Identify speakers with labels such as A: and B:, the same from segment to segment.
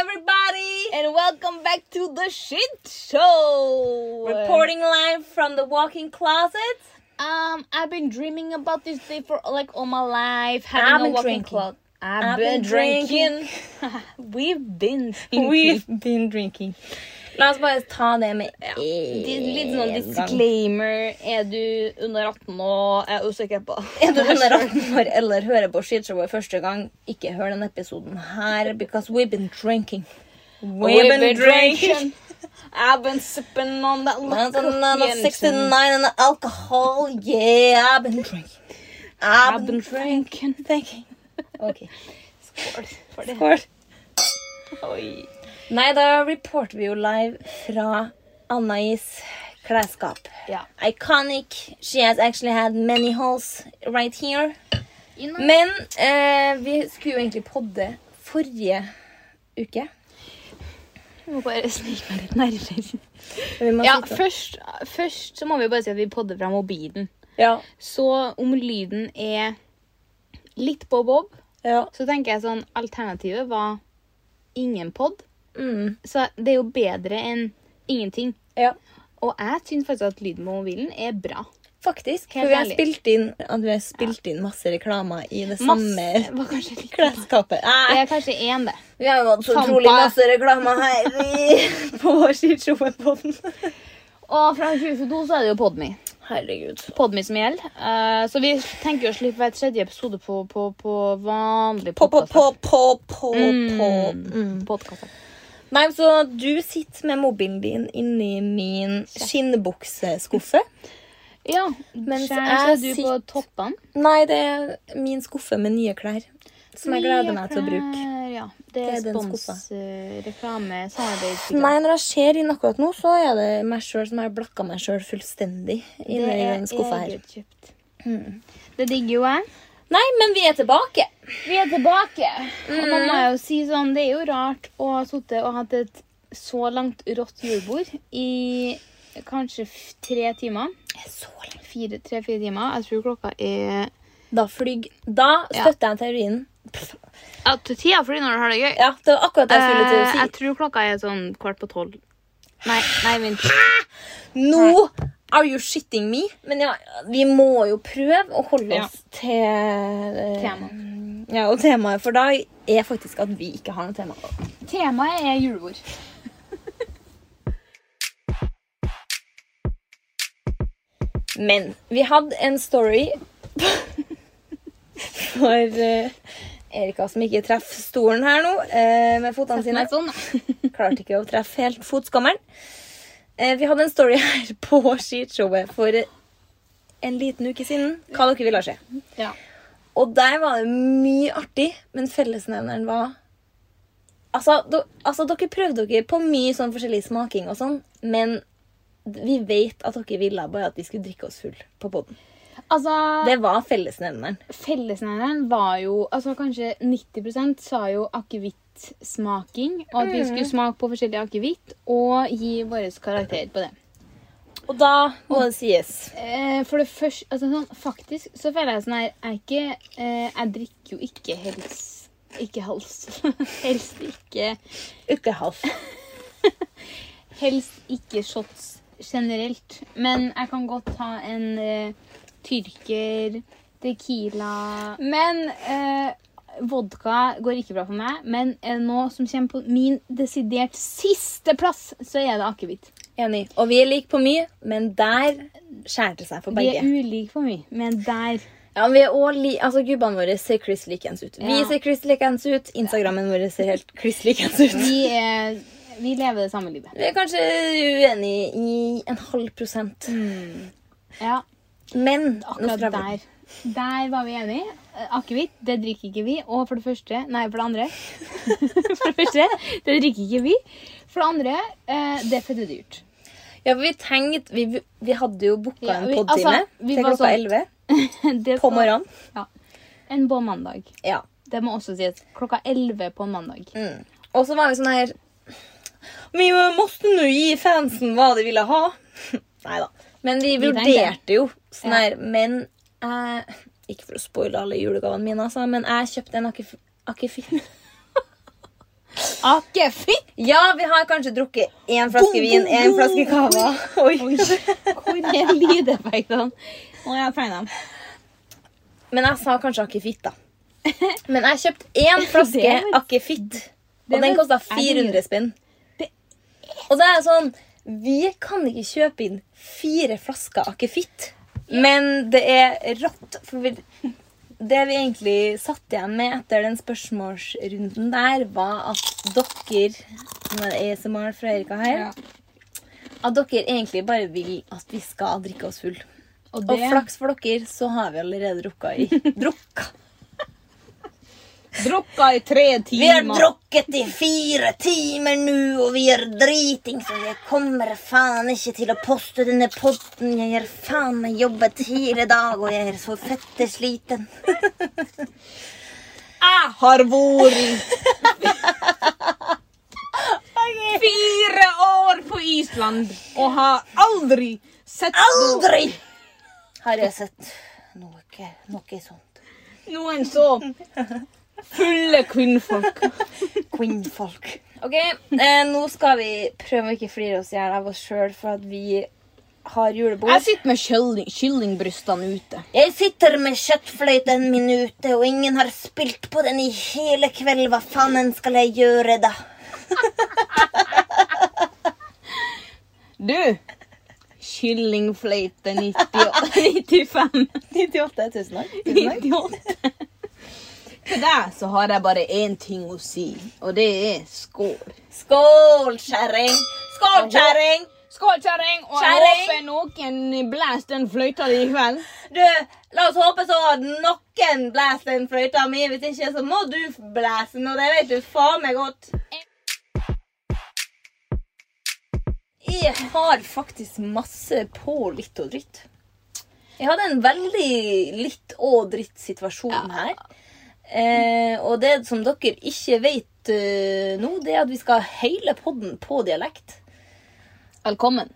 A: everybody, and welcome back to the shit show.
B: Reporting live from the walk-in closet.
A: Um, I've been dreaming about this day for like all my life.
B: I've
A: Having
B: been
A: a walking
B: drinking.
A: clock. I've,
B: I've
A: been,
B: been
A: drinking. We've been. Drinking.
B: We've been drinking. La oss bare ta det med ja.
A: Det er Litt
B: Litt
A: sånn
B: sånn
A: disclaimer. Er du under 18 nå? Jeg er usikker på.
B: Er du under 18 år eller hører på skishowet første gang, ikke hør denne episoden her, because we've been drinking. We've,
A: I've been sipping on that
B: None
A: liquor,
B: of- none of
A: Jensen.
B: 69 and the alcohol, yeah, I've been drinking. I've,
A: I've been
B: been
A: drinking.
B: drinking. Ok.
A: Skål for det.
B: Skål.
A: Oi.
B: Nei, da reporter vi jo live fra Anais klesskap.
A: Ja.
B: Iconic. She has actually had many holes right here.
A: You know-
B: Men eh, vi skulle jo egentlig podde forrige uke.
A: Må bare snike meg litt nærmere.
B: Vi må
A: Ja,
B: sitte-
A: først, først så må vi bare si at vi podder fra mobilen.
B: ja,
A: Så om lyden er litt bob-bob,
B: ja.
A: så tenker jeg sånn alternativet var ingen pod. Så det er jo bedre enn ingenting.
B: Mm. ja.
A: Og jeg syns faktisk at lyden på mobilen er bra.
B: Faktisk.
A: Helt
B: for vi har
A: ærlig.
B: spilt inn, ja, vi har spilt inn masse reklamer i det
A: Masse
B: samme
A: var kanskje litt
B: klesskapet.
A: Det
B: Nei,
A: er kanskje én, det.
B: vi har jo hatt så
A: Tampa.
B: utrolig masse reklamer her i- på vår skishowepodden.
A: Og fra 2022 så er det jo Podme.
B: Herregud.
A: Podme som gjelder. Eh, så vi tenker jo å slippe hver tredje episode på, på, på vanlig
B: På, på,
A: podcast. Mm.
B: på, på, på, på.
A: Podcast.
B: Nei, så du sitter med mobilen din inni min skinnbukseskuffe.
A: Ja, mens
B: Mens jeg
A: er du på
B: sitter-
A: toppene.
B: Nei, det er min skuffe med nye klær. Som jeg gleder meg til å bruke.
A: Ja, det
B: Det
A: er
B: er den
A: spons, eh, reklame, samarbeid
B: Nei, når jeg ser inn akkurat nå, så er det meg sjøl som har blakka meg sjøl fullstendig. Inni den skuffa her.
A: egenkjøpt. Det digger jo jeg.
B: Nei, men vi er tilbake.
A: Vi er tilbake. Og man må jo si sånn, det er jo rart å ha sittet og hatt et så langt rått julebord i kanskje f- tre timer.
B: Så lenge.
A: Fire, Tre-fire timer. Jeg tror klokka er
B: Da flyg. Da støtter jeg teorien.
A: Ja, til tida fordi når du har det gøy.
B: Ja, det var akkurat det jeg skulle
A: Eh, jeg
B: til å si.
A: tror klokka er sånn kvart på tolv. Nei, nei, vent.
B: Nå are you shitting me? Men ja, vi må jo prøve å holde
A: Ja.
B: oss til eh,
A: Tema.
B: Ja, og temaet for dag er faktisk at vi ikke har noe tema.
A: Temaet er julebord.
B: Men vi hadde en story for eh, Erika som ikke treffer stolen her nå eh, med fotene sine.
A: Nei, sånn.
B: Klarte ikke å treffe helt fotskammeren. Eh, vi hadde en story her på skishowet for eh, en liten uke siden. Hva dere ville se.
A: Ja.
B: Og der var det mye artig, men fellesnevneren var Altså, do, altså dere prøvde dere på mye sånn forskjellig smaking og sånn, men vi vet at dere ville bare at vi skulle drikke oss full på poden.
A: Altså,
B: Det var fellesnevneren.
A: Fellesnevneren var jo altså Kanskje 90 sa jo akevittsmaking. Og at vi
B: Mm.
A: skulle smake på forskjellig akevitt og gi vår karakter på det.
B: Og da må det sies
A: Eh, for det første altså, sånn, Faktisk så føler jeg sånn her Jeg, er ikke, eh, jeg drikker jo ikke helst Ikke helst. helst ikke
B: Ikke halv.
A: Helst ikke shots generelt. Men jeg kan godt ha en eh, tyrker, tequila Men eh, vodka går ikke bra for meg. Men er det noe som kommer på min desidert siste plass, så er det akevitt.
B: Enig. Og vi er like på mye, men der skjærer det seg for
A: Vi
B: begge.
A: er ulike for mye, men der
B: Ja, vi er også li altså Gubbene våre ser Chris likens ut. Vi
A: Ja.
B: ser Chris likens ut. Instagrammen vår ser helt Chris likens ut.
A: Vi, er, vi lever det samme livet.
B: Vi er kanskje uenige i en halv prosent.
A: Mm. Ja.
B: Men nå
A: Akkurat
B: skal
A: der.
B: jeg-
A: Der var vi enige. Eh, Akevitt, det drikker ikke vi. Og for det første Nei, for det andre. for det første, det drikker ikke vi. For det andre, eh, det er fette dyrt.
B: Ja, for vi tenkte Vi, vi hadde jo booka
A: Ja,
B: en
A: vi-
B: podtime
A: altså, vi
B: til
A: var
B: klokka
A: sånn-
B: 11
A: Det
B: på
A: skal-
B: morgenen.
A: Ja. Enn på mandag.
B: Ja.
A: Det må også sies. Klokka 11 på mandag.
B: Og så var vi sånn her Vi måtte nå gi fansen hva de ville ha. Nei da. Men vi
A: Vi tenkte.
B: vurderte jo sånn
A: Ja.
B: her. Men jeg Ikke for å spoile alle julegavene mine, altså, men jeg kjøpte en akef- akefitt.
A: Akefitt!
B: Ja, vi har kanskje drukket én flaske vin, én flaske cava. Oi.
A: Hvor er lydeffektene? Nå har jeg tegna dem.
B: Men jeg sa kanskje akefitt, da. Men jeg kjøpte én flaske
A: Det var-
B: akefitt,
A: Det
B: og den
A: var-
B: kosta
A: er det mye?
B: 400 spenn. Og det er sånn Vi kan ikke kjøpe inn fire flasker akefitt, men det er rått. For vi, det vi egentlig satt igjen med etter den spørsmålsrunden der, var at dere Nå er det ASMR fra Erika her.
A: Ja.
B: At dere egentlig bare vil at vi skal drikke oss full.
A: Og
B: Og,
A: det,
B: flaks for dere, så har vi allerede drukka i Drukka!
A: Drukka i tre timer.
B: Vi har drukket i fire timer nå, og vi er driting, så jeg kommer faen ikke til å poste denne podden. Jeg har faen meg jobbet hele dag, og jeg er så fette sliten.
A: Jeg har vært fire år på Island og har aldri sett
B: Aldri har jeg sett noe, noe sånt.
A: noen så fulle kvinnfolk.
B: Kvinnfolk. Ok, eh, nå skal vi prøve å ikke flire oss i hjel av oss sjøl for at vi har julebord.
A: Jeg sitter med kylling, kyllingbrystene ute.
B: Jeg sitter med kjøttfløyten min ute, og ingen har spilt på den i hele kveld. Hva faen skal jeg gjøre da?
A: Du! Kyllingfløyte 95.
B: 98 tusen takk.
A: 98. Til deg så har jeg bare én ting å si, og det er skål.
B: Skål, kjerring! Skål, kjerring!
A: Skål, kjerring. Og jeg håper
B: Kjerring!
A: noen blæs den fløyta di i kveld.
B: Du, la oss håpe så at noen blæser den fløyta mi. Hvis ikke, så må du blæse den, og det vet du faen meg godt. Jeg har faktisk masse på litt og dritt. Jeg hadde en veldig litt og dritt-situasjon her. Eh, og det som dere ikke vet eh, nå, det er at vi skal ha hele podden på dialekt.
A: Velkommen.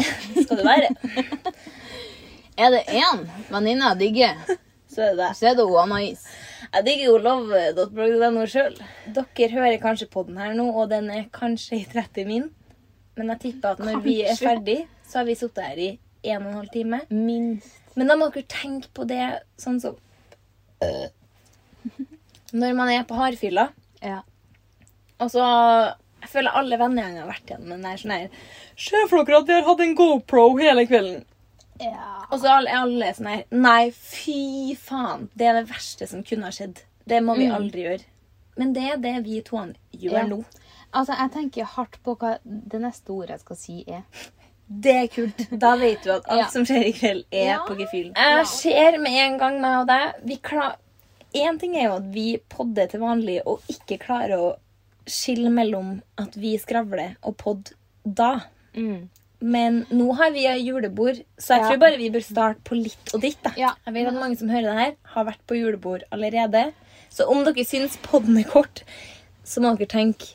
B: Skal det være.
A: Er det én venninne jeg digger,
B: Så er det det.
A: så er det hun Anna-Is.
B: Jeg digger jo love.blogg.no sjøl. Dere hører kanskje på den her nå, og den er kanskje i 30 min. Men jeg tipper at når vi er
A: Kanskje.
B: ferdig, så har vi sittet her i 1 12 time.
A: Minst.
B: Men da må dere tenke på det sånn som Når man er på hardfylla,
A: Ja.
B: og så Jeg føler alle vennegjengen har vært igjennom den der sånn her Se for dere at vi har hatt en GoPro hele kvelden. Og så er alle, alle sånn her Nei, fy faen. Det er det verste som kunne ha skjedd. Det må vi aldri gjøre. Men det er det vi to han
A: Mm.
B: gjør
A: Ja.
B: nå.
A: Altså, Jeg tenker hardt på hva det neste ordet jeg skal si, er.
B: Det er kult. Da vet du at alt
A: Ja.
B: som skjer i kveld, er
A: Ja.
B: på gefühlen. Jeg ser med en gang meg og deg vi klar... En ting er jo at vi podder til vanlig og ikke klarer å skille mellom at vi skravler og podd da. Men nå har vi julebord, så jeg
A: Mm. Ja.
B: tror bare vi bør starte på litt og ditt. da.
A: Ja.
B: Jeg vet at mange som hører det her, har vært på julebord allerede. Så om dere syns podden er kort, så må dere tenke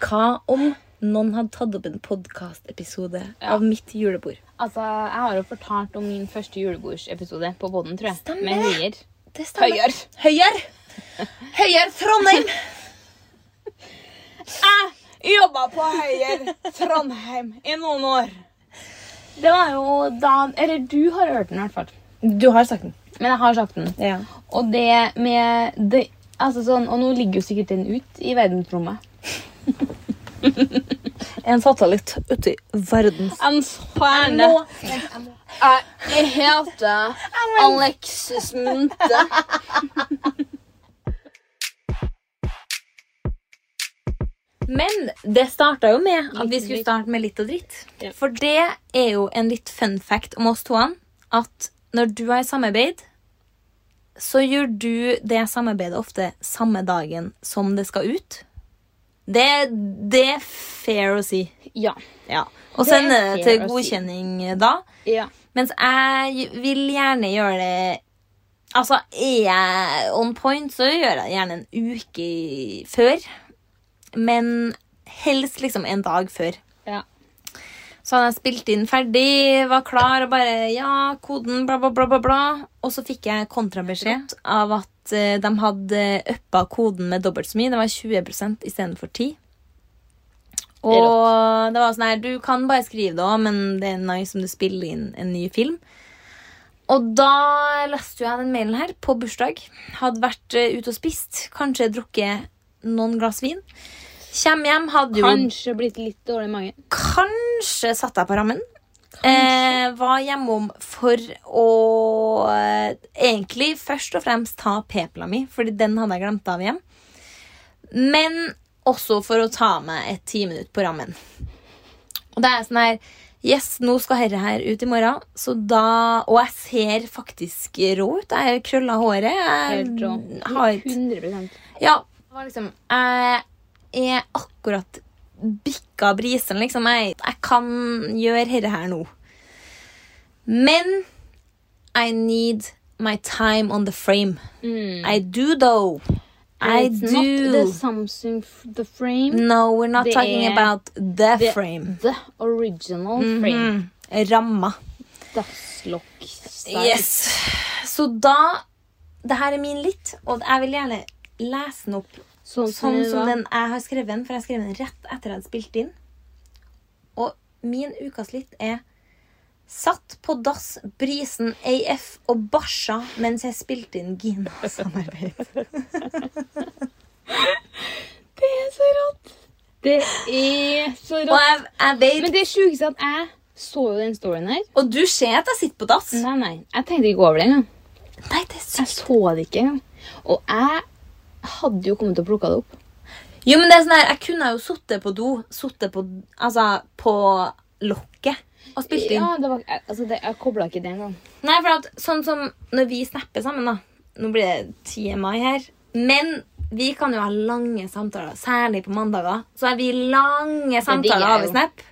B: Hva om noen hadde tatt opp en podkastepisode av mitt julebord?
A: Altså, Jeg har jo fortalt om min første julebordsepisode på båten, tror jeg.
B: Stemmer
A: Med
B: det.
A: høyer.
B: Det stemmer.
A: Høyere.
B: Høyere! Høyere Trondheim!
A: Jobba på Høyer Trondheim i noen år. Det var jo da Eller du har hørt den, i hvert fall.
B: Du har sagt den.
A: Men jeg har sagt den.
B: Ja.
A: Og det med det, altså sånn, Og nå ligger jo sikkert den ut i verdensrommet.
B: En satellitt ute i verdens
A: En stjerne. Jeg heter eh, Alexis Munte.
B: Men det starta jo med at vi skulle starte med litt og dritt. For det er jo en litt fun fact om oss toene at når du har samarbeid, så gjør du det samarbeidet ofte samme dagen som det skal ut. Det, det er fair å si.
A: Ja.
B: Ja. Og
A: Det er
B: sende det
A: fair
B: til
A: å si.
B: godkjenning eh, da.
A: ja.
B: Mens jeg vil gjerne gjøre det Altså, er jeg on point, så gjør jeg det gjerne en uke i- før. Men helst liksom en dag før.
A: Ja.
B: Så hadde jeg spilt inn ferdig, var klar og bare Ja, koden, bla, bla, bla, bla. bla. Og så fikk jeg kontrabeskjed av at eh, de hadde uppa koden med dobbelt så mye. Det var 20 istedenfor 10 Og det var sånn her Du kan bare skrive det òg, men det er nice om du spiller inn en ny film. Og da leste jeg den mailen her på bursdag. Hadde vært eh, ute og spist. Kanskje drukket noen glass vin. Kjem hjem, hadde jo
A: Kanskje blitt litt dårlig i magen.
B: kanskje satt deg på rammen. Eh, var hjemom for å eh, egentlig først og fremst ta pepla mi, fordi den hadde jeg glemt av hjem. Men også for å ta meg et ti minutt på rammen. Og det er sånn her Yes, nå skal herre her ut i morgen, så da Og jeg ser faktisk rå ut. Jeg har krølla håret.
A: Helt rå.
B: Jeg har
A: 100
B: ja. Det var liksom Jeg er akkurat bikka brisen, liksom. Jeg, jeg kan gjøre dette her nå. Men I need my time on the frame. I do, though. I
A: Mm. It's not
B: do.
A: the Samsung f the frame.
B: No, we're not
A: Det
B: talking
A: er-
B: about the,
A: The,
B: frame. Mm-hmm.
A: the original frame.
B: Ramma.
A: Dasslock.
B: Yes. Så da Det her er min litt, og jeg vil gjerne lese den opp
A: Sånn som,
B: Sånn
A: det
B: som
A: var.
B: den jeg har skrevet den, for jeg skrev den rett etter jeg hadde spilt inn. Og min ukas litt er Satt på dass, brisen AF og barsa mens jeg spilte inn Gina samarbeid.
A: Det er så rått. Det er så
B: Og
A: rått.
B: jeg, jeg vet
A: Men det sjukeste er at jeg så jo den storyen her.
B: Og du ser at jeg sitter på dass?
A: Nei, nei. Jeg tenkte ikke over det engang.
B: Nei, det er
A: Jeg
B: sykt.
A: så det ikke engang. Og jeg hadde jo kommet til å plukke det opp.
B: Jo, men det er sånn her, jeg kunne jo sittet på do. Sittet på Altså, på lokket og spilt inn.
A: Ja, det var, jeg- altså det, jeg kobla ikke det engang.
B: Nei, for at sånn som når vi snapper sammen da Nå blir det 10. mai her Men vi kan jo ha lange samtaler Særlig på mandager Så har vi lange
A: digger
B: samtaler
A: jeg
B: av
A: jo.
B: snap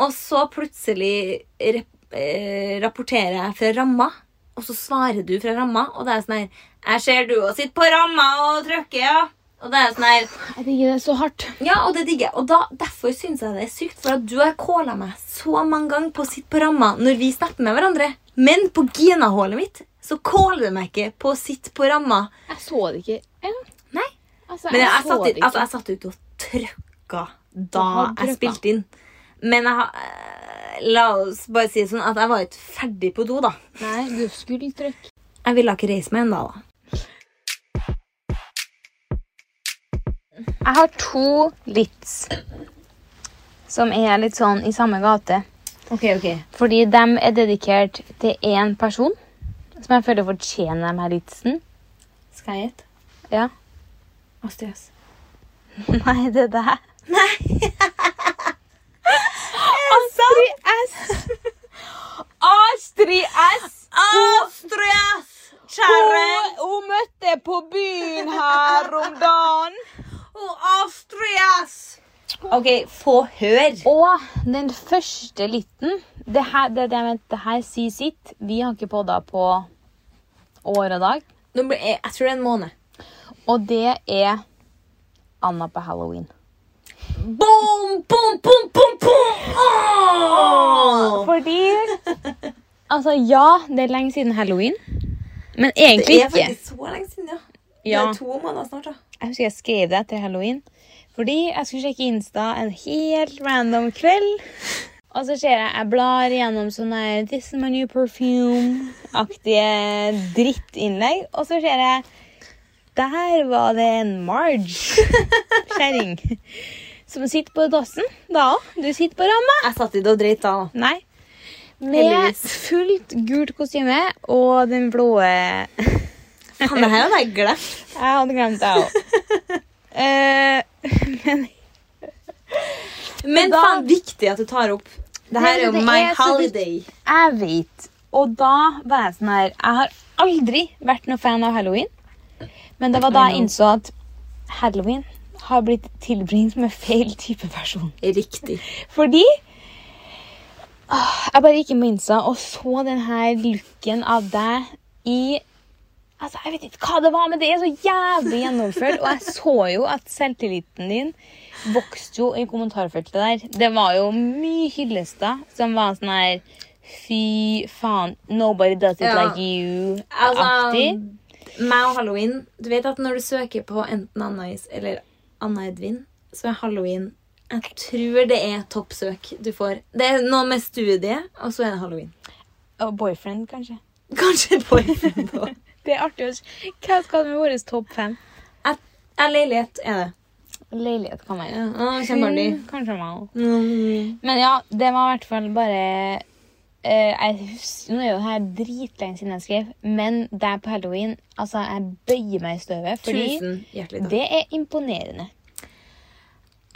B: Og så plutselig rep, eh, rapporterer jeg fra ramma Og så svarer du fra ramma Og det er sånn her Jeg ser du og sitter på ramma og trykker ja Og det er sånn her
A: Jeg digger det så hardt.
B: ja, og det digger jeg. Og da, derfor syns jeg det er sykt, for at du har kåla meg så mange ganger på å sitte på ramma når vi snapper med hverandre. Men på Gina-hålet mitt så kåler du meg ikke på å sitte på ramma.
A: Jeg så det ikke engang.
B: Nei.
A: Altså,
B: Men jeg, jeg,
A: så
B: satt,
A: det
B: ut-
A: ikke.
B: altså, jeg satt ute og trøkka da
A: har
B: jeg
A: drøkka.
B: spilte inn. Men jeg har eh, La oss bare si det sånn at jeg var ikke ferdig på do, da.
A: Nei, du skulle trykke.
B: Jeg ville ikke reise meg ennå, da.
A: Jeg har to lits som er litt sånn i samme gate.
B: Ok, ok.
A: Fordi de er dedikert til én person som jeg føler fortjener de her litsen.
B: Skal jeg gjette?
A: Ja.
B: Astrid S.
A: Nei, det er deg.
B: Astrid S!
A: Astrid S!
B: Astrid S! Kjære!
A: hun møtte på byen her om dagen.
B: Og Astrid S. OK, få høre.
A: Og den første liten Det her, det, det, jeg mente, det her sier sitt. Vi har ikke podda på år og dag.
B: Nå ble, e, jeg, jeg tror det er en måned.
A: Og det er Anna på halloween.
B: Boom, boom, boom, boom, boom! Åh!
A: Fordi Altså, ja, det er lenge siden halloween. Men egentlig
B: Det er
A: ikke.
B: faktisk så lenge siden, ja.
A: Ja.
B: Det er to måneder snart, da.
A: Jeg husker jeg skrev det etter halloween. Fordi jeg skulle sjekke Insta en helt random kveld. Og så ser jeg jeg blar gjennom sånne her, This is my new perfume-aktige drittinnlegg. Og så ser jeg Der var det en Marge. Kjerring. Som sitter på dassen. Da òg. Du sitter på ramma.
B: Jeg satt i det og dreit da. da.
A: Nei. Med
B: Heldigvis.
A: fullt gult kostyme og den blå Jeg
B: Faen, det her hadde jeg glemt.
A: hadde glemt det òg. men
B: Men
A: Da-
B: faen, viktig at du tar opp. Det
A: Men
B: her er jo
A: det
B: my
A: er så
B: holiday.
A: jeg vet Og da var jeg sånn her Jeg har aldri vært noen fan av halloween. Men det var da jeg innså at halloween har blitt tilbringt med feil type person.
B: Riktig.
A: Fordi Åh, Jeg bare gikk inn på Insta og så den her looken av deg i Altså, Jeg vet ikke hva det var, men det er så jævlig gjennomført. Og jeg så jo at selvtilliten din vokste jo i kommentarfeltet der. Det var jo mye hyllester som var sånn her Fy faen, nobody does it
B: Ja.
A: like you.
B: Altså,
A: aktig.
B: meg og halloween Du vet at når du søker på enten Anna-Is eller Anna-Edvin, så er halloween Jeg tror det er toppsøk du får. Det er noe med studiet, og så er det halloween.
A: Og boyfriend, kanskje.
B: Kanskje et boyfriend òg.
A: Det er artig å se. Hva skal det med vår topp fem?
B: Eller leilighet er det.
A: Leilighet kan være.
B: Ja, å, Kjempeartig.
A: Hun, Kanskje meg også.
B: Mm.
A: Men ja, det var i hvert fall bare eh, jeg husker, Nå er jo det her dritlenge siden jeg skrev, men der på halloween Altså, jeg bøyer meg i støvet, fordi
B: Tusen hjertelig takk.
A: det er imponerende.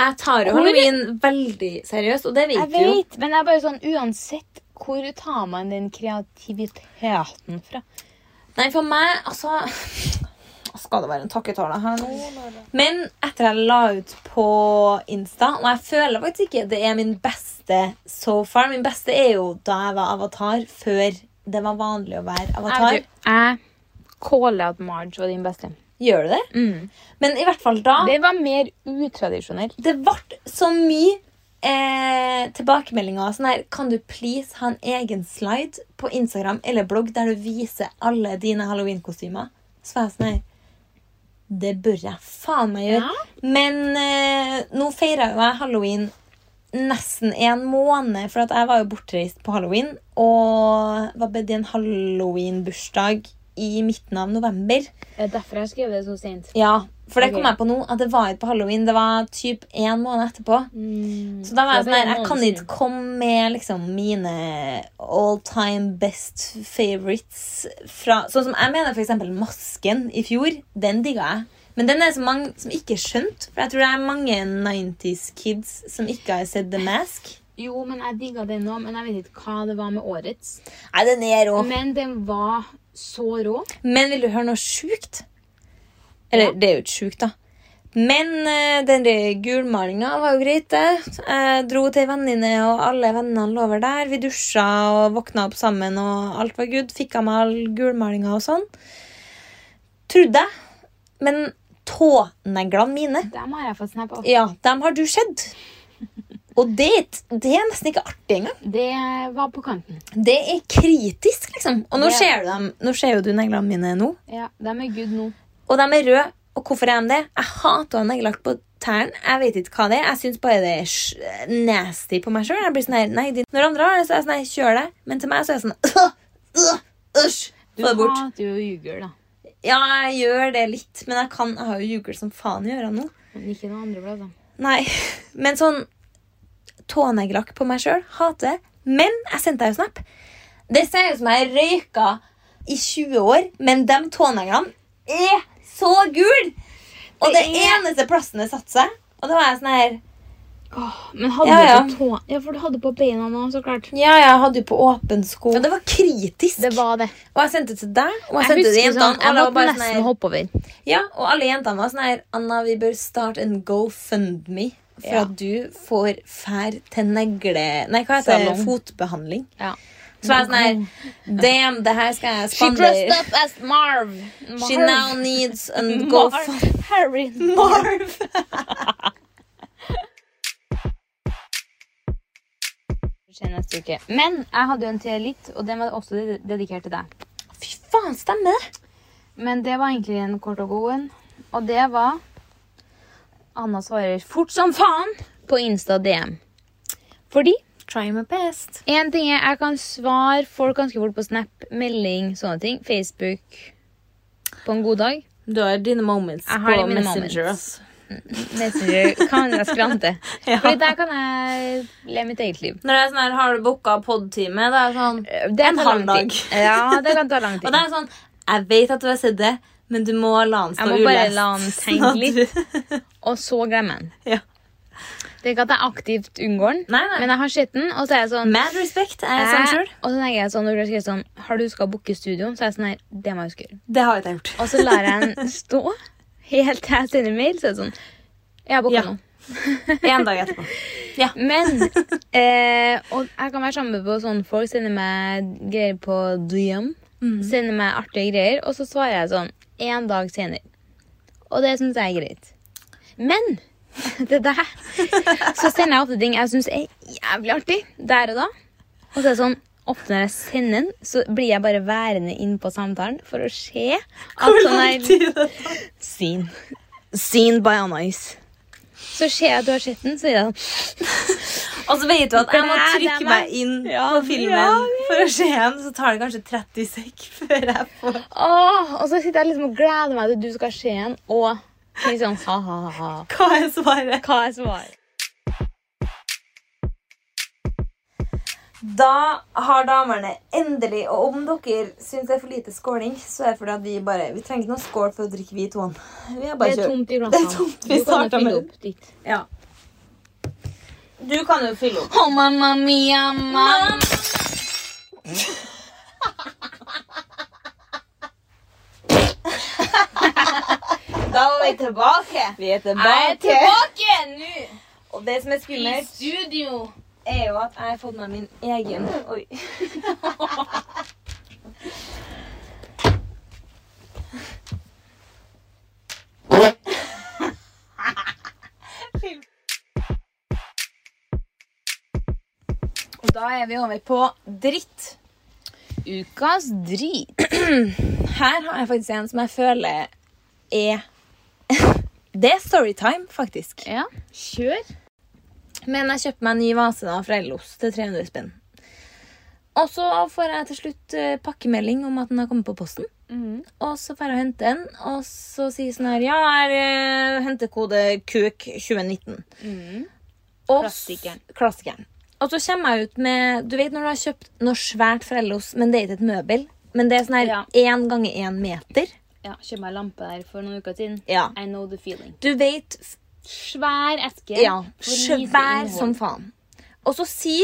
B: Jeg tar jo
A: Hvor-
B: halloween veldig seriøst, og det vet
A: Jeg
B: du jo.
A: vet, men det er bare sånn uansett hvor tar man den kreativiteten fra?
B: Nei, for meg, altså Skal det være en takketale her nå? Men etter jeg la ut på Insta, og jeg føler faktisk ikke det er min beste so far Min beste er jo da jeg var avatar, før det var vanlig å være avatar.
A: Jeg, jeg caller at Marge var din beste. Mm.
B: Gjør du det? Men i hvert fall da
A: Det var mer utradisjonelt.
B: det ble så mye eh, tilbakemeldinger. Sånn her, kan du please ha en egen slide på Instagram eller blogg der du viser alle dine halloweenkostymer? Så var jeg sånn her Det bør jeg faen meg gjøre. Men eh, nå feira jo jeg halloween nesten en måned, for at jeg var jo bortreist på halloween. Og var bedt i en halloweenbursdag i midten av november.
A: Det er derfor jeg skrev det så sent.
B: Ja, for det
A: Ok.
B: kom jeg på nå, at det var ikke på halloween. Det var typ en måned etterpå. Så da var jeg
A: Så Mm. det
B: sånn
A: ble
B: her,
A: en
B: jeg
A: måned
B: kan ikke
A: siden.
B: komme med liksom mine all time best favorites fra Sånn som jeg mener for eksempel Masken i fjor. Den digga jeg. Men den er det så mange som ikke skjønte. For jeg tror det er mange 90s kids som ikke har sett The Mask.
A: Jo, men jeg digga den nå, men jeg vet ikke hva det var med årets.
B: Nei, den er rå.
A: Men den var så rå.
B: Men vil du høre noe sjukt? Eller, det er jo ikke sjukt, da. Men eh, den der gulmalinga var jo greit, det. Jeg dro til ei venninne, og alle vennene lå over der. Vi dusja og våkna opp sammen, og alt var good. Fikk av meg all gulmalinga og sånn. Trodde jeg. Men tåneglene mine
A: Dem har jeg fått snap av.
B: Ja, dem har du sett. Og det, er ikke- det er nesten ikke artig engang.
A: Det var på kanten.
B: Det er kritisk, liksom. Og nå
A: Det-
B: ser du dem. Nå ser jo du neglene mine nå.
A: Ja, Dem er good nå.
B: Og de er røde. Og hvorfor er de det? Jeg hater å ha neglelakk på tærne. Jeg vet ikke hva det er. Jeg syns bare det er sj- nasty på meg sjøl. Jeg blir sånn her, nei, din- Når andre har det, så er jeg sånn her, kjør det. Men til meg så er jeg sånn «Åh, åh, Æsj! Få det bort.
A: hater jo å ljuge, da.
B: Ja, jeg gjør det litt, men jeg kan Jeg har jo jugel som faen i ørene nå.
A: Men ikke noen andre plasser.
B: Nei, men sånn Tåneglelakk på meg sjøl. Hater det. Men jeg sendte deg jo snap. Det ser ut som jeg røyka i 20 år, men de tåneglene er så gule! Og det,
A: Det er-
B: eneste plassen det satte seg. Og da var jeg sånn her
A: Men hadde
B: Ja, ja.
A: du på tå... Ja, for du hadde på beina nå, så klart.
B: Ja, jeg hadde jo på åpen sko. Ja, det var kritisk.
A: Det var det.
B: Og jeg sendte det til deg, og jeg, sendte det til jentene.
A: sånn, jeg
B: og alle var
A: måtte
B: bare
A: nesten
B: sånn her,
A: hoppe over.
B: ja, og alle jentene var sånn her Anna, vi bør starte en GoFundMe for at du får fær til negle... Nei, hva heter det?
A: Salong.
B: Fotbehandling.
A: Ja. Mm.
B: Så var jeg sånn her Damn, det her skal jeg spandere.
A: up as Marv.
B: She now needs and go for
A: Harry.
B: Marv.
A: Skjer neste uke. Men jeg hadde jo en til litt, og den var også ded- dedikert til deg.
B: Fy faen, stemmer det?
A: Men det var egentlig en kort og god en. Og det var Anna svarer fort som faen på Insta DM. Fordi
B: Try my best.
A: En ting er jeg kan svare folk ganske fort på Snap, melding, sånne ting. Facebook på en god dag.
B: Du har dine moments
A: Jeg har
B: på
A: mine
B: Messenger.
A: moments.
B: ass.
A: Messenger kan jeg skrante.
B: Ja.
A: Fordi der kan jeg leve mitt eget liv.
B: Når det er sånn her, har du booka podtime? Det er sånn
A: Eh, Det
B: en
A: kan ta lang
B: halv dag.
A: tid. Ja, det kan ta lang tid.
B: Og det er sånn Jeg vet at du har sett det, men du må la den stå
A: Jeg må bare la den tenke
B: Sånn at du-
A: Og så glemmer jeg den.
B: Ja.
A: Det er ikke at jeg aktivt unngår den,
B: Nei, nei.
A: men jeg har sett den, og så er jeg sånn
B: Mad respect er
A: eh,
B: jeg sånn sjøl.
A: Og så tenker jeg sånn, når du har skrevet sånn Har du huska å booke studio? Så er jeg sånn her Det må jeg huske å gjøre.
B: Det har ikke jeg gjort.
A: Og så lar jeg den stå helt til jeg sender mail, så er det sånn Jeg har booka
B: Ja.
A: nå.
B: En dag etterpå. Ja.
A: Men eh, Og jeg kan være sammen på sånn folk sender meg greier på DM. Sender meg artige greier, og så svarer jeg sånn én dag senere. Og det syns jeg er greit. Men det der Så sender jeg ofte ting jeg syns er jævlig artig der og da. Og så er det sånn ofte når jeg sender den, så blir jeg bare værende inn på samtalen for å se at sånn er Seen. Seen by Anais. Så ser jeg at du har sett den, så er jeg sånn
B: Og så vet du at jeg må
A: Det er det
B: trykke
A: meg.
B: meg inn
A: Ja,
B: på filmen
A: ja,
B: for å se den, så tar det kanskje 30 sek før jeg får
A: Åh, og så sitter jeg liksom og gleder meg til du skal se den, og liksom ha-ha-ha.
B: hva jeg svarer.
A: Hva er svaret?
B: Da har damene endelig Og om dere syns det er for lite skåling, så er det fordi at vi bare Vi trenger ikke noe skål for å drikke, vi to. Vi
A: Det
B: har bare
A: er
B: kjørt.
A: tomt i
B: Det er tomt. Vi
A: Du kan jo
B: startet med
A: fylle
B: det.
A: opp ditt.
B: Ja. Du kan jo fylle opp.
A: Oh, mamma mia, mamma.
B: Da var vi tilbake. Vi er
A: Jeg er tilbake nå!
B: Og det som er
A: I
B: skummelt,
A: studio.
B: er jo at jeg har fått meg min egen Oi. Og da er vi over på dritt.
A: Ukas drit.
B: Her har jeg faktisk en som jeg føler er Det er storytime, faktisk.
A: Ja, kjør.
B: Men jeg kjøpte meg en ny vase da fra Ellos til 300 spenn. Og så får jeg til slutt eh, pakkemelding om at den har kommet på posten.
A: Mhm.
B: Og så får jeg hente den, og så sier sånn her Ja, eh, her er hentekode KUK 2019. Og s-
A: Klassikeren.
B: Klassikeren. Og så kommer jeg ut med Du vet når du har kjøpt noe svært fra Ellos, men det er ikke et møbel? Men det er sånn her
A: Ja.
B: én ganger én meter?
A: Ja, Kjøpte meg lampe der for noen uker siden.
B: Ja.
A: I know the feeling.
B: Du vet
A: Svær eske.
B: Ja,
A: For lite
B: svær
A: innhold.
B: som faen. Og så si,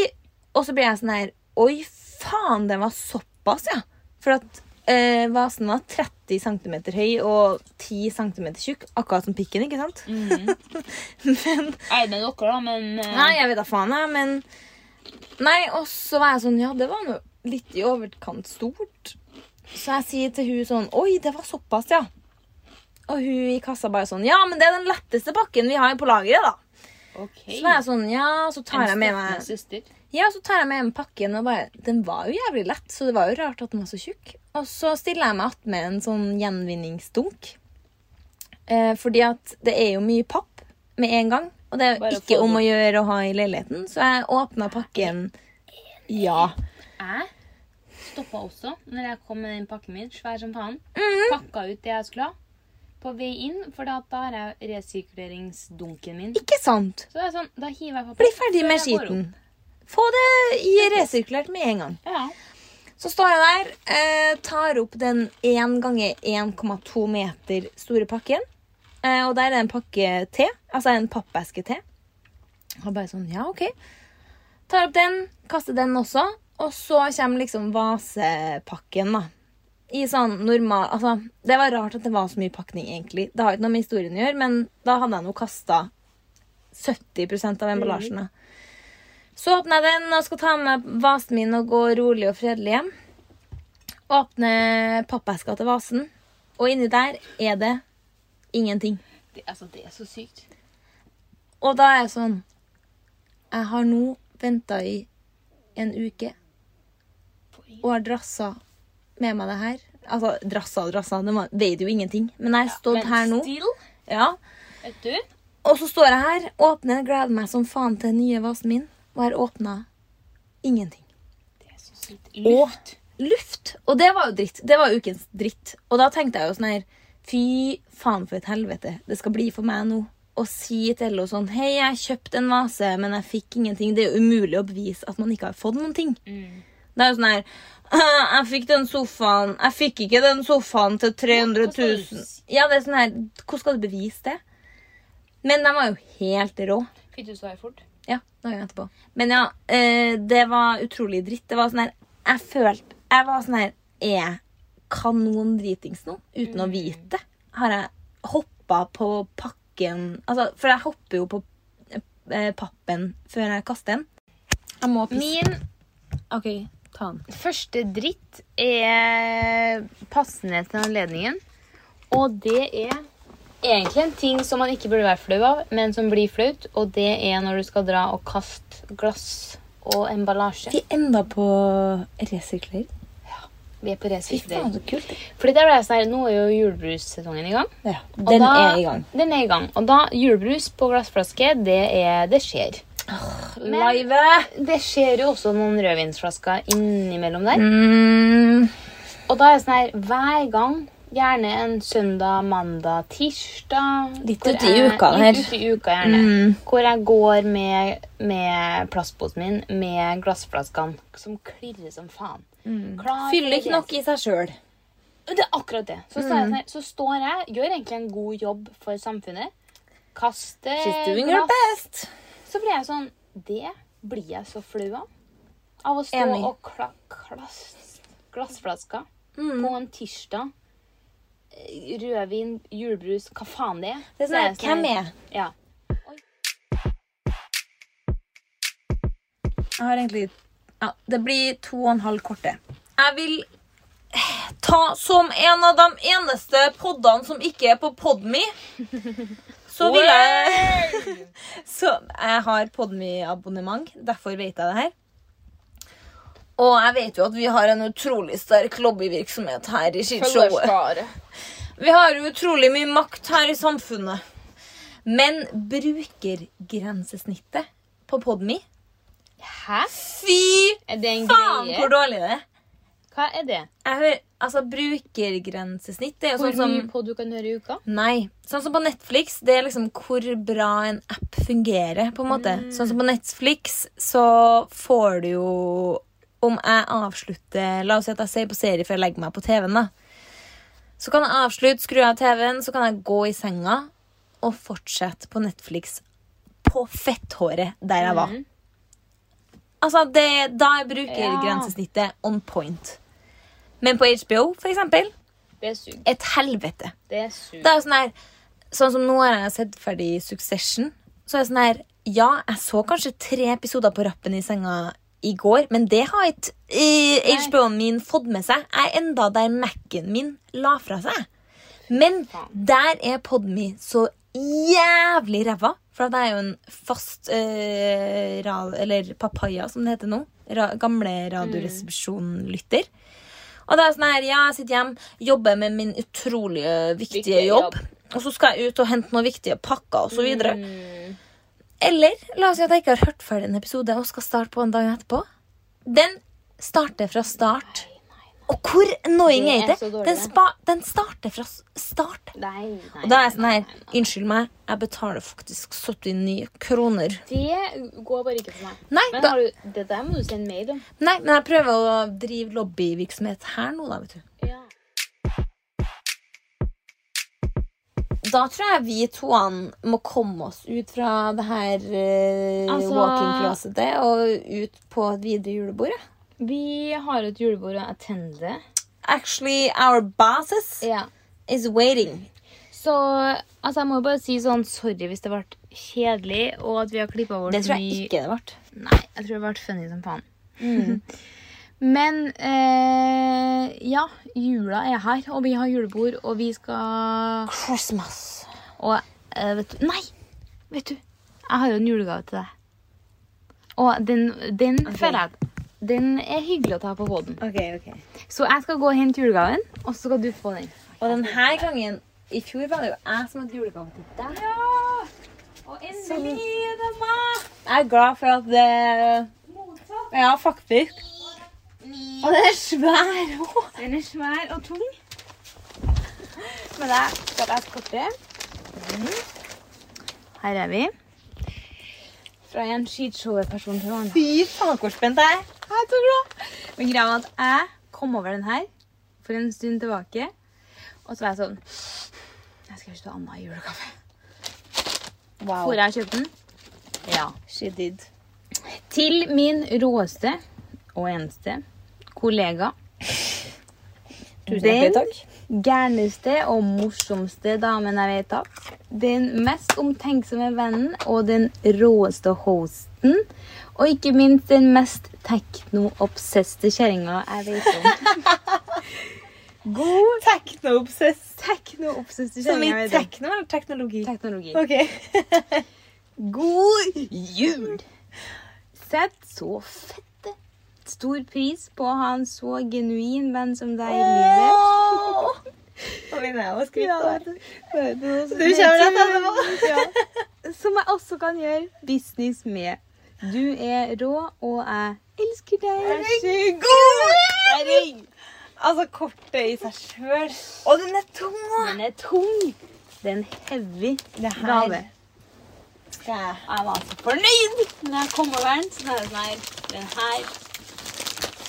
B: og så blir jeg sånn her Oi, faen, den var såpass, ja. For at eh, vasen var 30 cm høy og 10 cm tjukk. Akkurat som pikken, ikke sant? men
A: Mhm. Nei, men dere, da, men eh,
B: Nei, jeg vet da faen, jeg, men Nei, og så var jeg sånn Ja, det var noe litt i overkant stort. Så jeg sier til hun sånn Oi, det var såpass, ja. Og hun i kassa bare sånn Ja, men det er den letteste pakken vi har på lageret, da.
A: OK.
B: Så var jeg sånn, ja, så tar jeg med
A: En
B: meg
A: søster.
B: Ja, så tar jeg med meg pakken og bare Den var jo jævlig lett, så det var jo rart at den var så tjukk. Og så stiller jeg meg attmed en sånn gjenvinningsdunk. Eh, fordi at det er jo mye papp med en gang. Og det er jo
A: Bare
B: ikke
A: få
B: om å
A: det.
B: gjøre å ha i leiligheten, så jeg åpna pakken Ja.
A: Jeg stoppa også når jeg kom med den pakken min, svær som faen. Pakka ut det jeg skulle ha. På vei inn, for da, da har jeg resirkuleringsdunken min.
B: Ikke sant?
A: Så det er sånn, da hiver jeg på
B: Bli
A: pakken
B: ferdig
A: før
B: med
A: jeg går opp.
B: skiten. Få det i resirkulert med en gang.
A: Ja.
B: Så står jeg der, eh, tar opp den 1 ganger 1,2 meter store pakken. Eh, og der er det en pakke te, altså en pappeske te. Og bare sånn, ja, ok. Tar opp den, kaster den også. Og så kommer liksom vasepakken, da. I sånn normal Altså, det var rart at det var så mye pakning, egentlig. Det har ikke noe med historien å gjøre, men da hadde jeg nå kasta 70 av
A: Mm.
B: emballasjen. da. Så åpner jeg den og skal ta med vasen min og gå rolig og fredelig hjem. Åpner pappeska til vasen, og inni der er det ingenting.
A: Det, altså, det er så sykt.
B: Og da er jeg sånn Jeg har nå venta i en uke og har drassa med meg det her. Altså, drassa og drassa, det var- vet jo ingenting. Men jeg har stått her nå.
A: still,
B: Ja.
A: vet du
B: Og så står jeg her, åpner, gleder meg som faen til den nye vasen min, og har åpna ingenting.
A: Det er så sykt. Luft.
B: Luft. Og det var jo dritt. Det var ukens dritt. Og da tenkte jeg jo sånn her Fy faen for et helvete det skal bli for meg nå. Å si til Ello sånn Hei, jeg kjøpte en vase, men jeg fikk ingenting. Det er jo umulig å bevise at man ikke har fått noen ting.
A: Mm.
B: Det er jo sånn her Jeg fikk den sofaen Jeg fikk ikke den sofaen til 300 000. Ja, det er sånn her Hvordan skal du bevise det? Men den var jo helt rå.
A: Fikk du svar fort?
B: Ja, dagen etterpå. Men ja, eh, det var utrolig dritt. Det var sånn her, Jeg følte Jeg var sånn her Er jeg kanondritings nå? Uten å
A: Mm.
B: vite det? Har jeg hoppa på pakken Altså, for jeg hopper jo på eh, pappen før jeg kaster den. Jeg må pisse.
A: Min
B: OK, ta den.
A: første dritt er passende til anledningen. Og det er egentlig en ting som man ikke burde være flau av, men som blir flaut. Og det er når du skal dra og kaste glass og emballasje.
B: Vi enda på resirkler.
A: Vi er på
B: Fy faen,
A: resirkulering.
B: så kult.
A: Fordi der ble jeg sånn her, Nå er jo julebrussesongen i gang.
B: Ja,
A: og
B: den
A: da,
B: er i gang.
A: Den er i gang. Og da julebrus på glassflaske, det, er, det skjer. Men-
B: Live!
A: Det skjer jo også noen rødvinsflasker innimellom der.
B: Mm,
A: Og da er det sånn her hver gang, gjerne en søndag, mandag, tirsdag
B: Litt
A: hvor
B: ut i
A: jeg-
B: uka, det her.
A: eh,
B: Mm.
A: Litt ut i uka, gjerne. Hvor jeg går med, med plastposen min med glassflaskene som klirrer som faen. Klar
B: Mm. fyller
A: for
B: ikke nok i seg Mm. sjøl.
A: det er akkurat det. Så, står jeg sånn her, så står jeg, gjør egentlig en god jobb for samfunnet. Kaster
B: She's doing her best.
A: Så blir jeg sånn Det blir jeg så flau av. Av å stå
B: Enig.
A: og kla, klass, glassflasker på en tirsdag. eh, Rødvin, julebrus, hva faen det er.
B: Det er
A: Så
B: sånn her,
A: sånn
B: hvem
A: her-
B: er jeg?
A: Ja.
B: Jeg har egentlig ja, Det blir to og en halv korte. Jeg vil ta som en av de eneste poddene som ikke er på Podme. Så vil jeg Så jeg har Podme-abonnement, derfor vet jeg det her. Og jeg vet jo at vi har en utrolig sterk lobbyvirksomhet her i Skishowet. Vi har jo utrolig mye makt her i samfunnet. Men brukergrensesnittet på Podme
A: Hæ?
B: Fy
A: Er det en
B: faen
A: greie?
B: hvor dårlig det er!
A: Hva er det?
B: Jeg hører, altså Brukergrensesnitt det er jo
A: Hvor
B: sånn som
A: mye på du kan høre i uka?
B: Nei. Sånn som på Netflix, det er liksom hvor bra en app fungerer. på en måte.
A: Mm.
B: Sånn som på Netflix, så får du jo Om jeg avslutter La oss si at jeg ser på serie før jeg legger meg på TV-en. da. Så kan jeg avslutte, skru av TV-en, så kan jeg gå i senga og fortsette på Netflix på fetthåret der jeg var. Altså, det, Da er brukergrensesnittet on point. Men på HBO, for eksempel,
A: Det suger.
B: et helvete.
A: Det suger.
B: Det er jo sånn her Sånn som nå har jeg sett ferdig Succession. Så er det sånn her Ja, jeg så kanskje tre episoder på rappen i senga i går, men det har ikke eh, HBO-en min fått med seg. Jeg er enda der Mac-en min la fra seg. Men der er Podme så jævlig ræva. For det er jo en fast eh, ra- Eller papaya, som det heter nå. Ra gamle
A: Mm.
B: Radioresepsjon-lytter. Og det er sånn her, ja, jeg sitter hjem, jobber med min utrolig eh, viktige,
A: Viktige
B: jobb.
A: jobb.
B: Og så skal jeg ut og hente noen viktige pakker osv. videre
A: Mm.
B: Eller la oss si at jeg ikke har hørt ferdig en episode og skal starte på en dag etterpå. Den starter fra start. Og hvor annoying
A: Det er
B: er ikke
A: så
B: det?
A: dårlig.
B: Den, spa, den starter fra s- start.
A: Nei, nei.
B: Og da er jeg sånn her Unnskyld meg, jeg betaler faktisk 79 kroner.
A: Det går bare ikke for meg.
B: Nei,
A: Men
B: da-
A: har du, det der må du sende mail om.
B: Nei, men jeg prøver å drive lobbyvirksomhet her nå, da, vet du.
A: Ja.
B: Da tror jeg vi toene må komme oss ut fra det her eh,
A: Altså-
B: walking closetet og ut på et videre julebord. ja.
A: Vi har et julebord å attende.
B: Actually, our bosses
A: Ja.
B: is waiting.
A: Så altså, jeg må jo bare si sånn sorry hvis det ble kjedelig, og at vi har klippa bort
B: Det tror jeg
A: mye-
B: ikke det ble.
A: Nei, jeg tror det ble funny som faen. Men eh, ja, jula er her, og vi har julebord, og vi skal
B: Christmas.
A: Og eh, vet du Nei! Vet du, jeg har jo en julegave til deg. Og den, den føler jeg at- Den er hyggelig å ta på poden.
B: Ok, ok.
A: Så jeg skal gå og hente julegaven, og så skal du få den.
B: Og denne gangen i fjor var det jo jeg som hadde julegave til deg.
A: Og
B: Jeg er glad for at det Ja, faktisk. Og den er svær òg.
A: Den er svær og tung.
B: Men det skal jeg korte
A: Mm. Her er vi.
B: fra en skishowerperson til en annen. Fy faen, hvor spent jeg er. Jeg er så glad.
A: Men greia var at jeg kom over den her for en stund tilbake. Og så var jeg sånn Jeg skal ikke ta annet i julegave.
B: Wow.
A: Hvor jeg kjøpte den? Ja.
B: She did.
A: Til min råeste og eneste kollega.
B: Tusen
A: Den
B: hjertelig takk.
A: gærneste og morsomste damen jeg vet av. Den mest omtenksomme vennen og den råeste hosten. Og ikke minst den mest tekno-obsesste kjerringa jeg vet om. God
B: Tekno-obsess.
A: tekno-obsesste
B: Som i
A: kjerringa jeg vet om.
B: tekno eller teknologi?
A: Teknologi.
B: Ok.
A: God jul! Sett så fette stor pris på å ha en så genuin venn som deg i livet.
B: Nå begynner jeg å
A: Ja,
B: skryte.
A: vet du. Vet du hva som-
B: Du kommer rett etterpå.
A: Ja. Som jeg også kan gjøre business med. Du er rå, og jeg elsker deg.
B: Herregud! Altså, kortet i seg sjøl. Og den er tung, da.
A: Den er tung. Det er en heavy
B: Det her-
A: gave.
B: Skal jeg-
A: Jeg var så fornøyd når jeg kom over den. Så er det sånn her. Den her.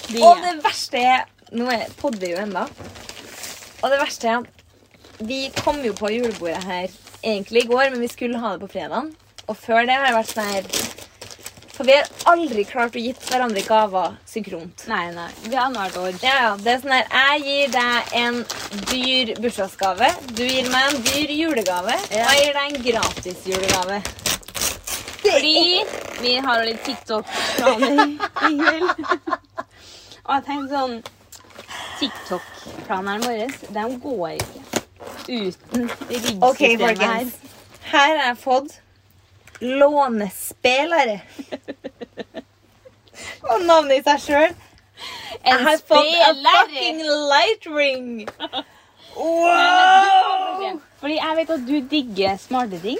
A: blir
B: Og
A: jeg.
B: det verste er Nå er- podder vi jo ennå. Og det verste er at Vi kom jo på julebordet her egentlig i går, men vi skulle ha det på fredagen. Og før det har jeg vært sånn her For vi har aldri klart å gitt hverandre gaver synkront.
A: Nei, nei. Vi har annethvert år.
B: Ja, ja, det er sånn her Jeg gir deg en dyr bursdagsgave. Du gir meg en dyr julegave.
A: Ja.
B: Og jeg gir deg en gratis julegave.
A: Fordi vi har jo litt TikTok-planer i kveld. Og jeg tenkte sånn TikTok-planeren vår, de går ikke uten ryggsystemet
B: Ok, folkens. Her har jeg fått lånespillere. Og navnet i seg sjøl.
A: her.
B: Jeg
A: En
B: har fått a fucking
A: spiller!
B: light ring. Wow!
A: Fordi jeg vet at du digger smarte ting.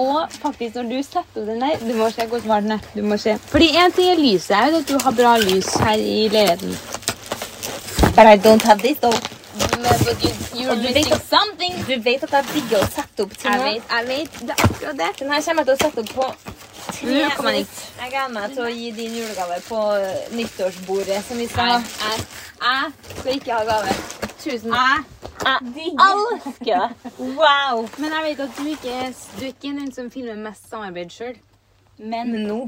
A: Og faktisk når du setter opp den der Du må se hvor smart den er. Du må se. Fordi en ting er lyset. Jeg vet at du har bra lys her i leiligheten.
B: But I don't have this, though.
A: You're
B: missing
A: something.
B: Du vet at jeg digger å sette opp ting.
A: Jeg
B: nå.
A: vet, jeg vet. Det er akkurat det.
B: Den her kommer jeg til å sette opp på tre
A: Nå kommer den.
B: minutter. Jeg gleder meg til å gi din julegave på eh, nyttårsbordet. som vi
A: Nei,
B: skal ha.
A: jeg, jeg skal ikke ha gave. Tusen Jeg
B: Elsker! Wow!
A: Men jeg vet at du ikke er, du er ikke den som filmer mest samarbeid sjøl. Men,
B: Men nå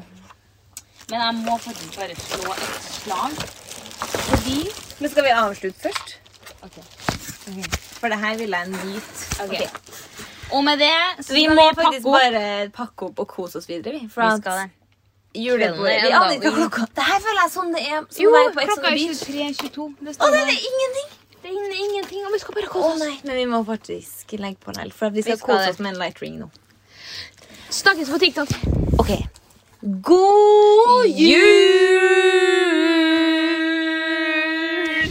A: men jeg må faktisk bare slå et slag. Fordi
B: Men skal vi avslutte først?
A: Ok.
B: For det her vil jeg nyte.
A: Ok. Og med det så
B: Vi
A: skal
B: må
A: pakke
B: faktisk
A: opp.
B: bare pakke opp og kose oss videre. vi. For
A: Vi
B: at
A: skal det. Kvelden er
B: julebordet Vi
A: en
B: aner ikke
A: dag.
B: klokka. Det her føler jeg som det er som
A: Jo,
B: å være på Ex on
A: klokka
B: the
A: er
B: Beach.
A: 23.22. Det
B: Å,
A: står
B: nei,
A: der.
B: det er ingenting!
A: Det er ingenting, og vi skal bare
B: Å
A: kose oss.
B: nei, Men vi må faktisk legge på den, for at vi skal,
A: skal
B: kose
A: det.
B: oss med en light ring nå.
A: Snakkes på TikTok.
B: Ok. God
A: jul!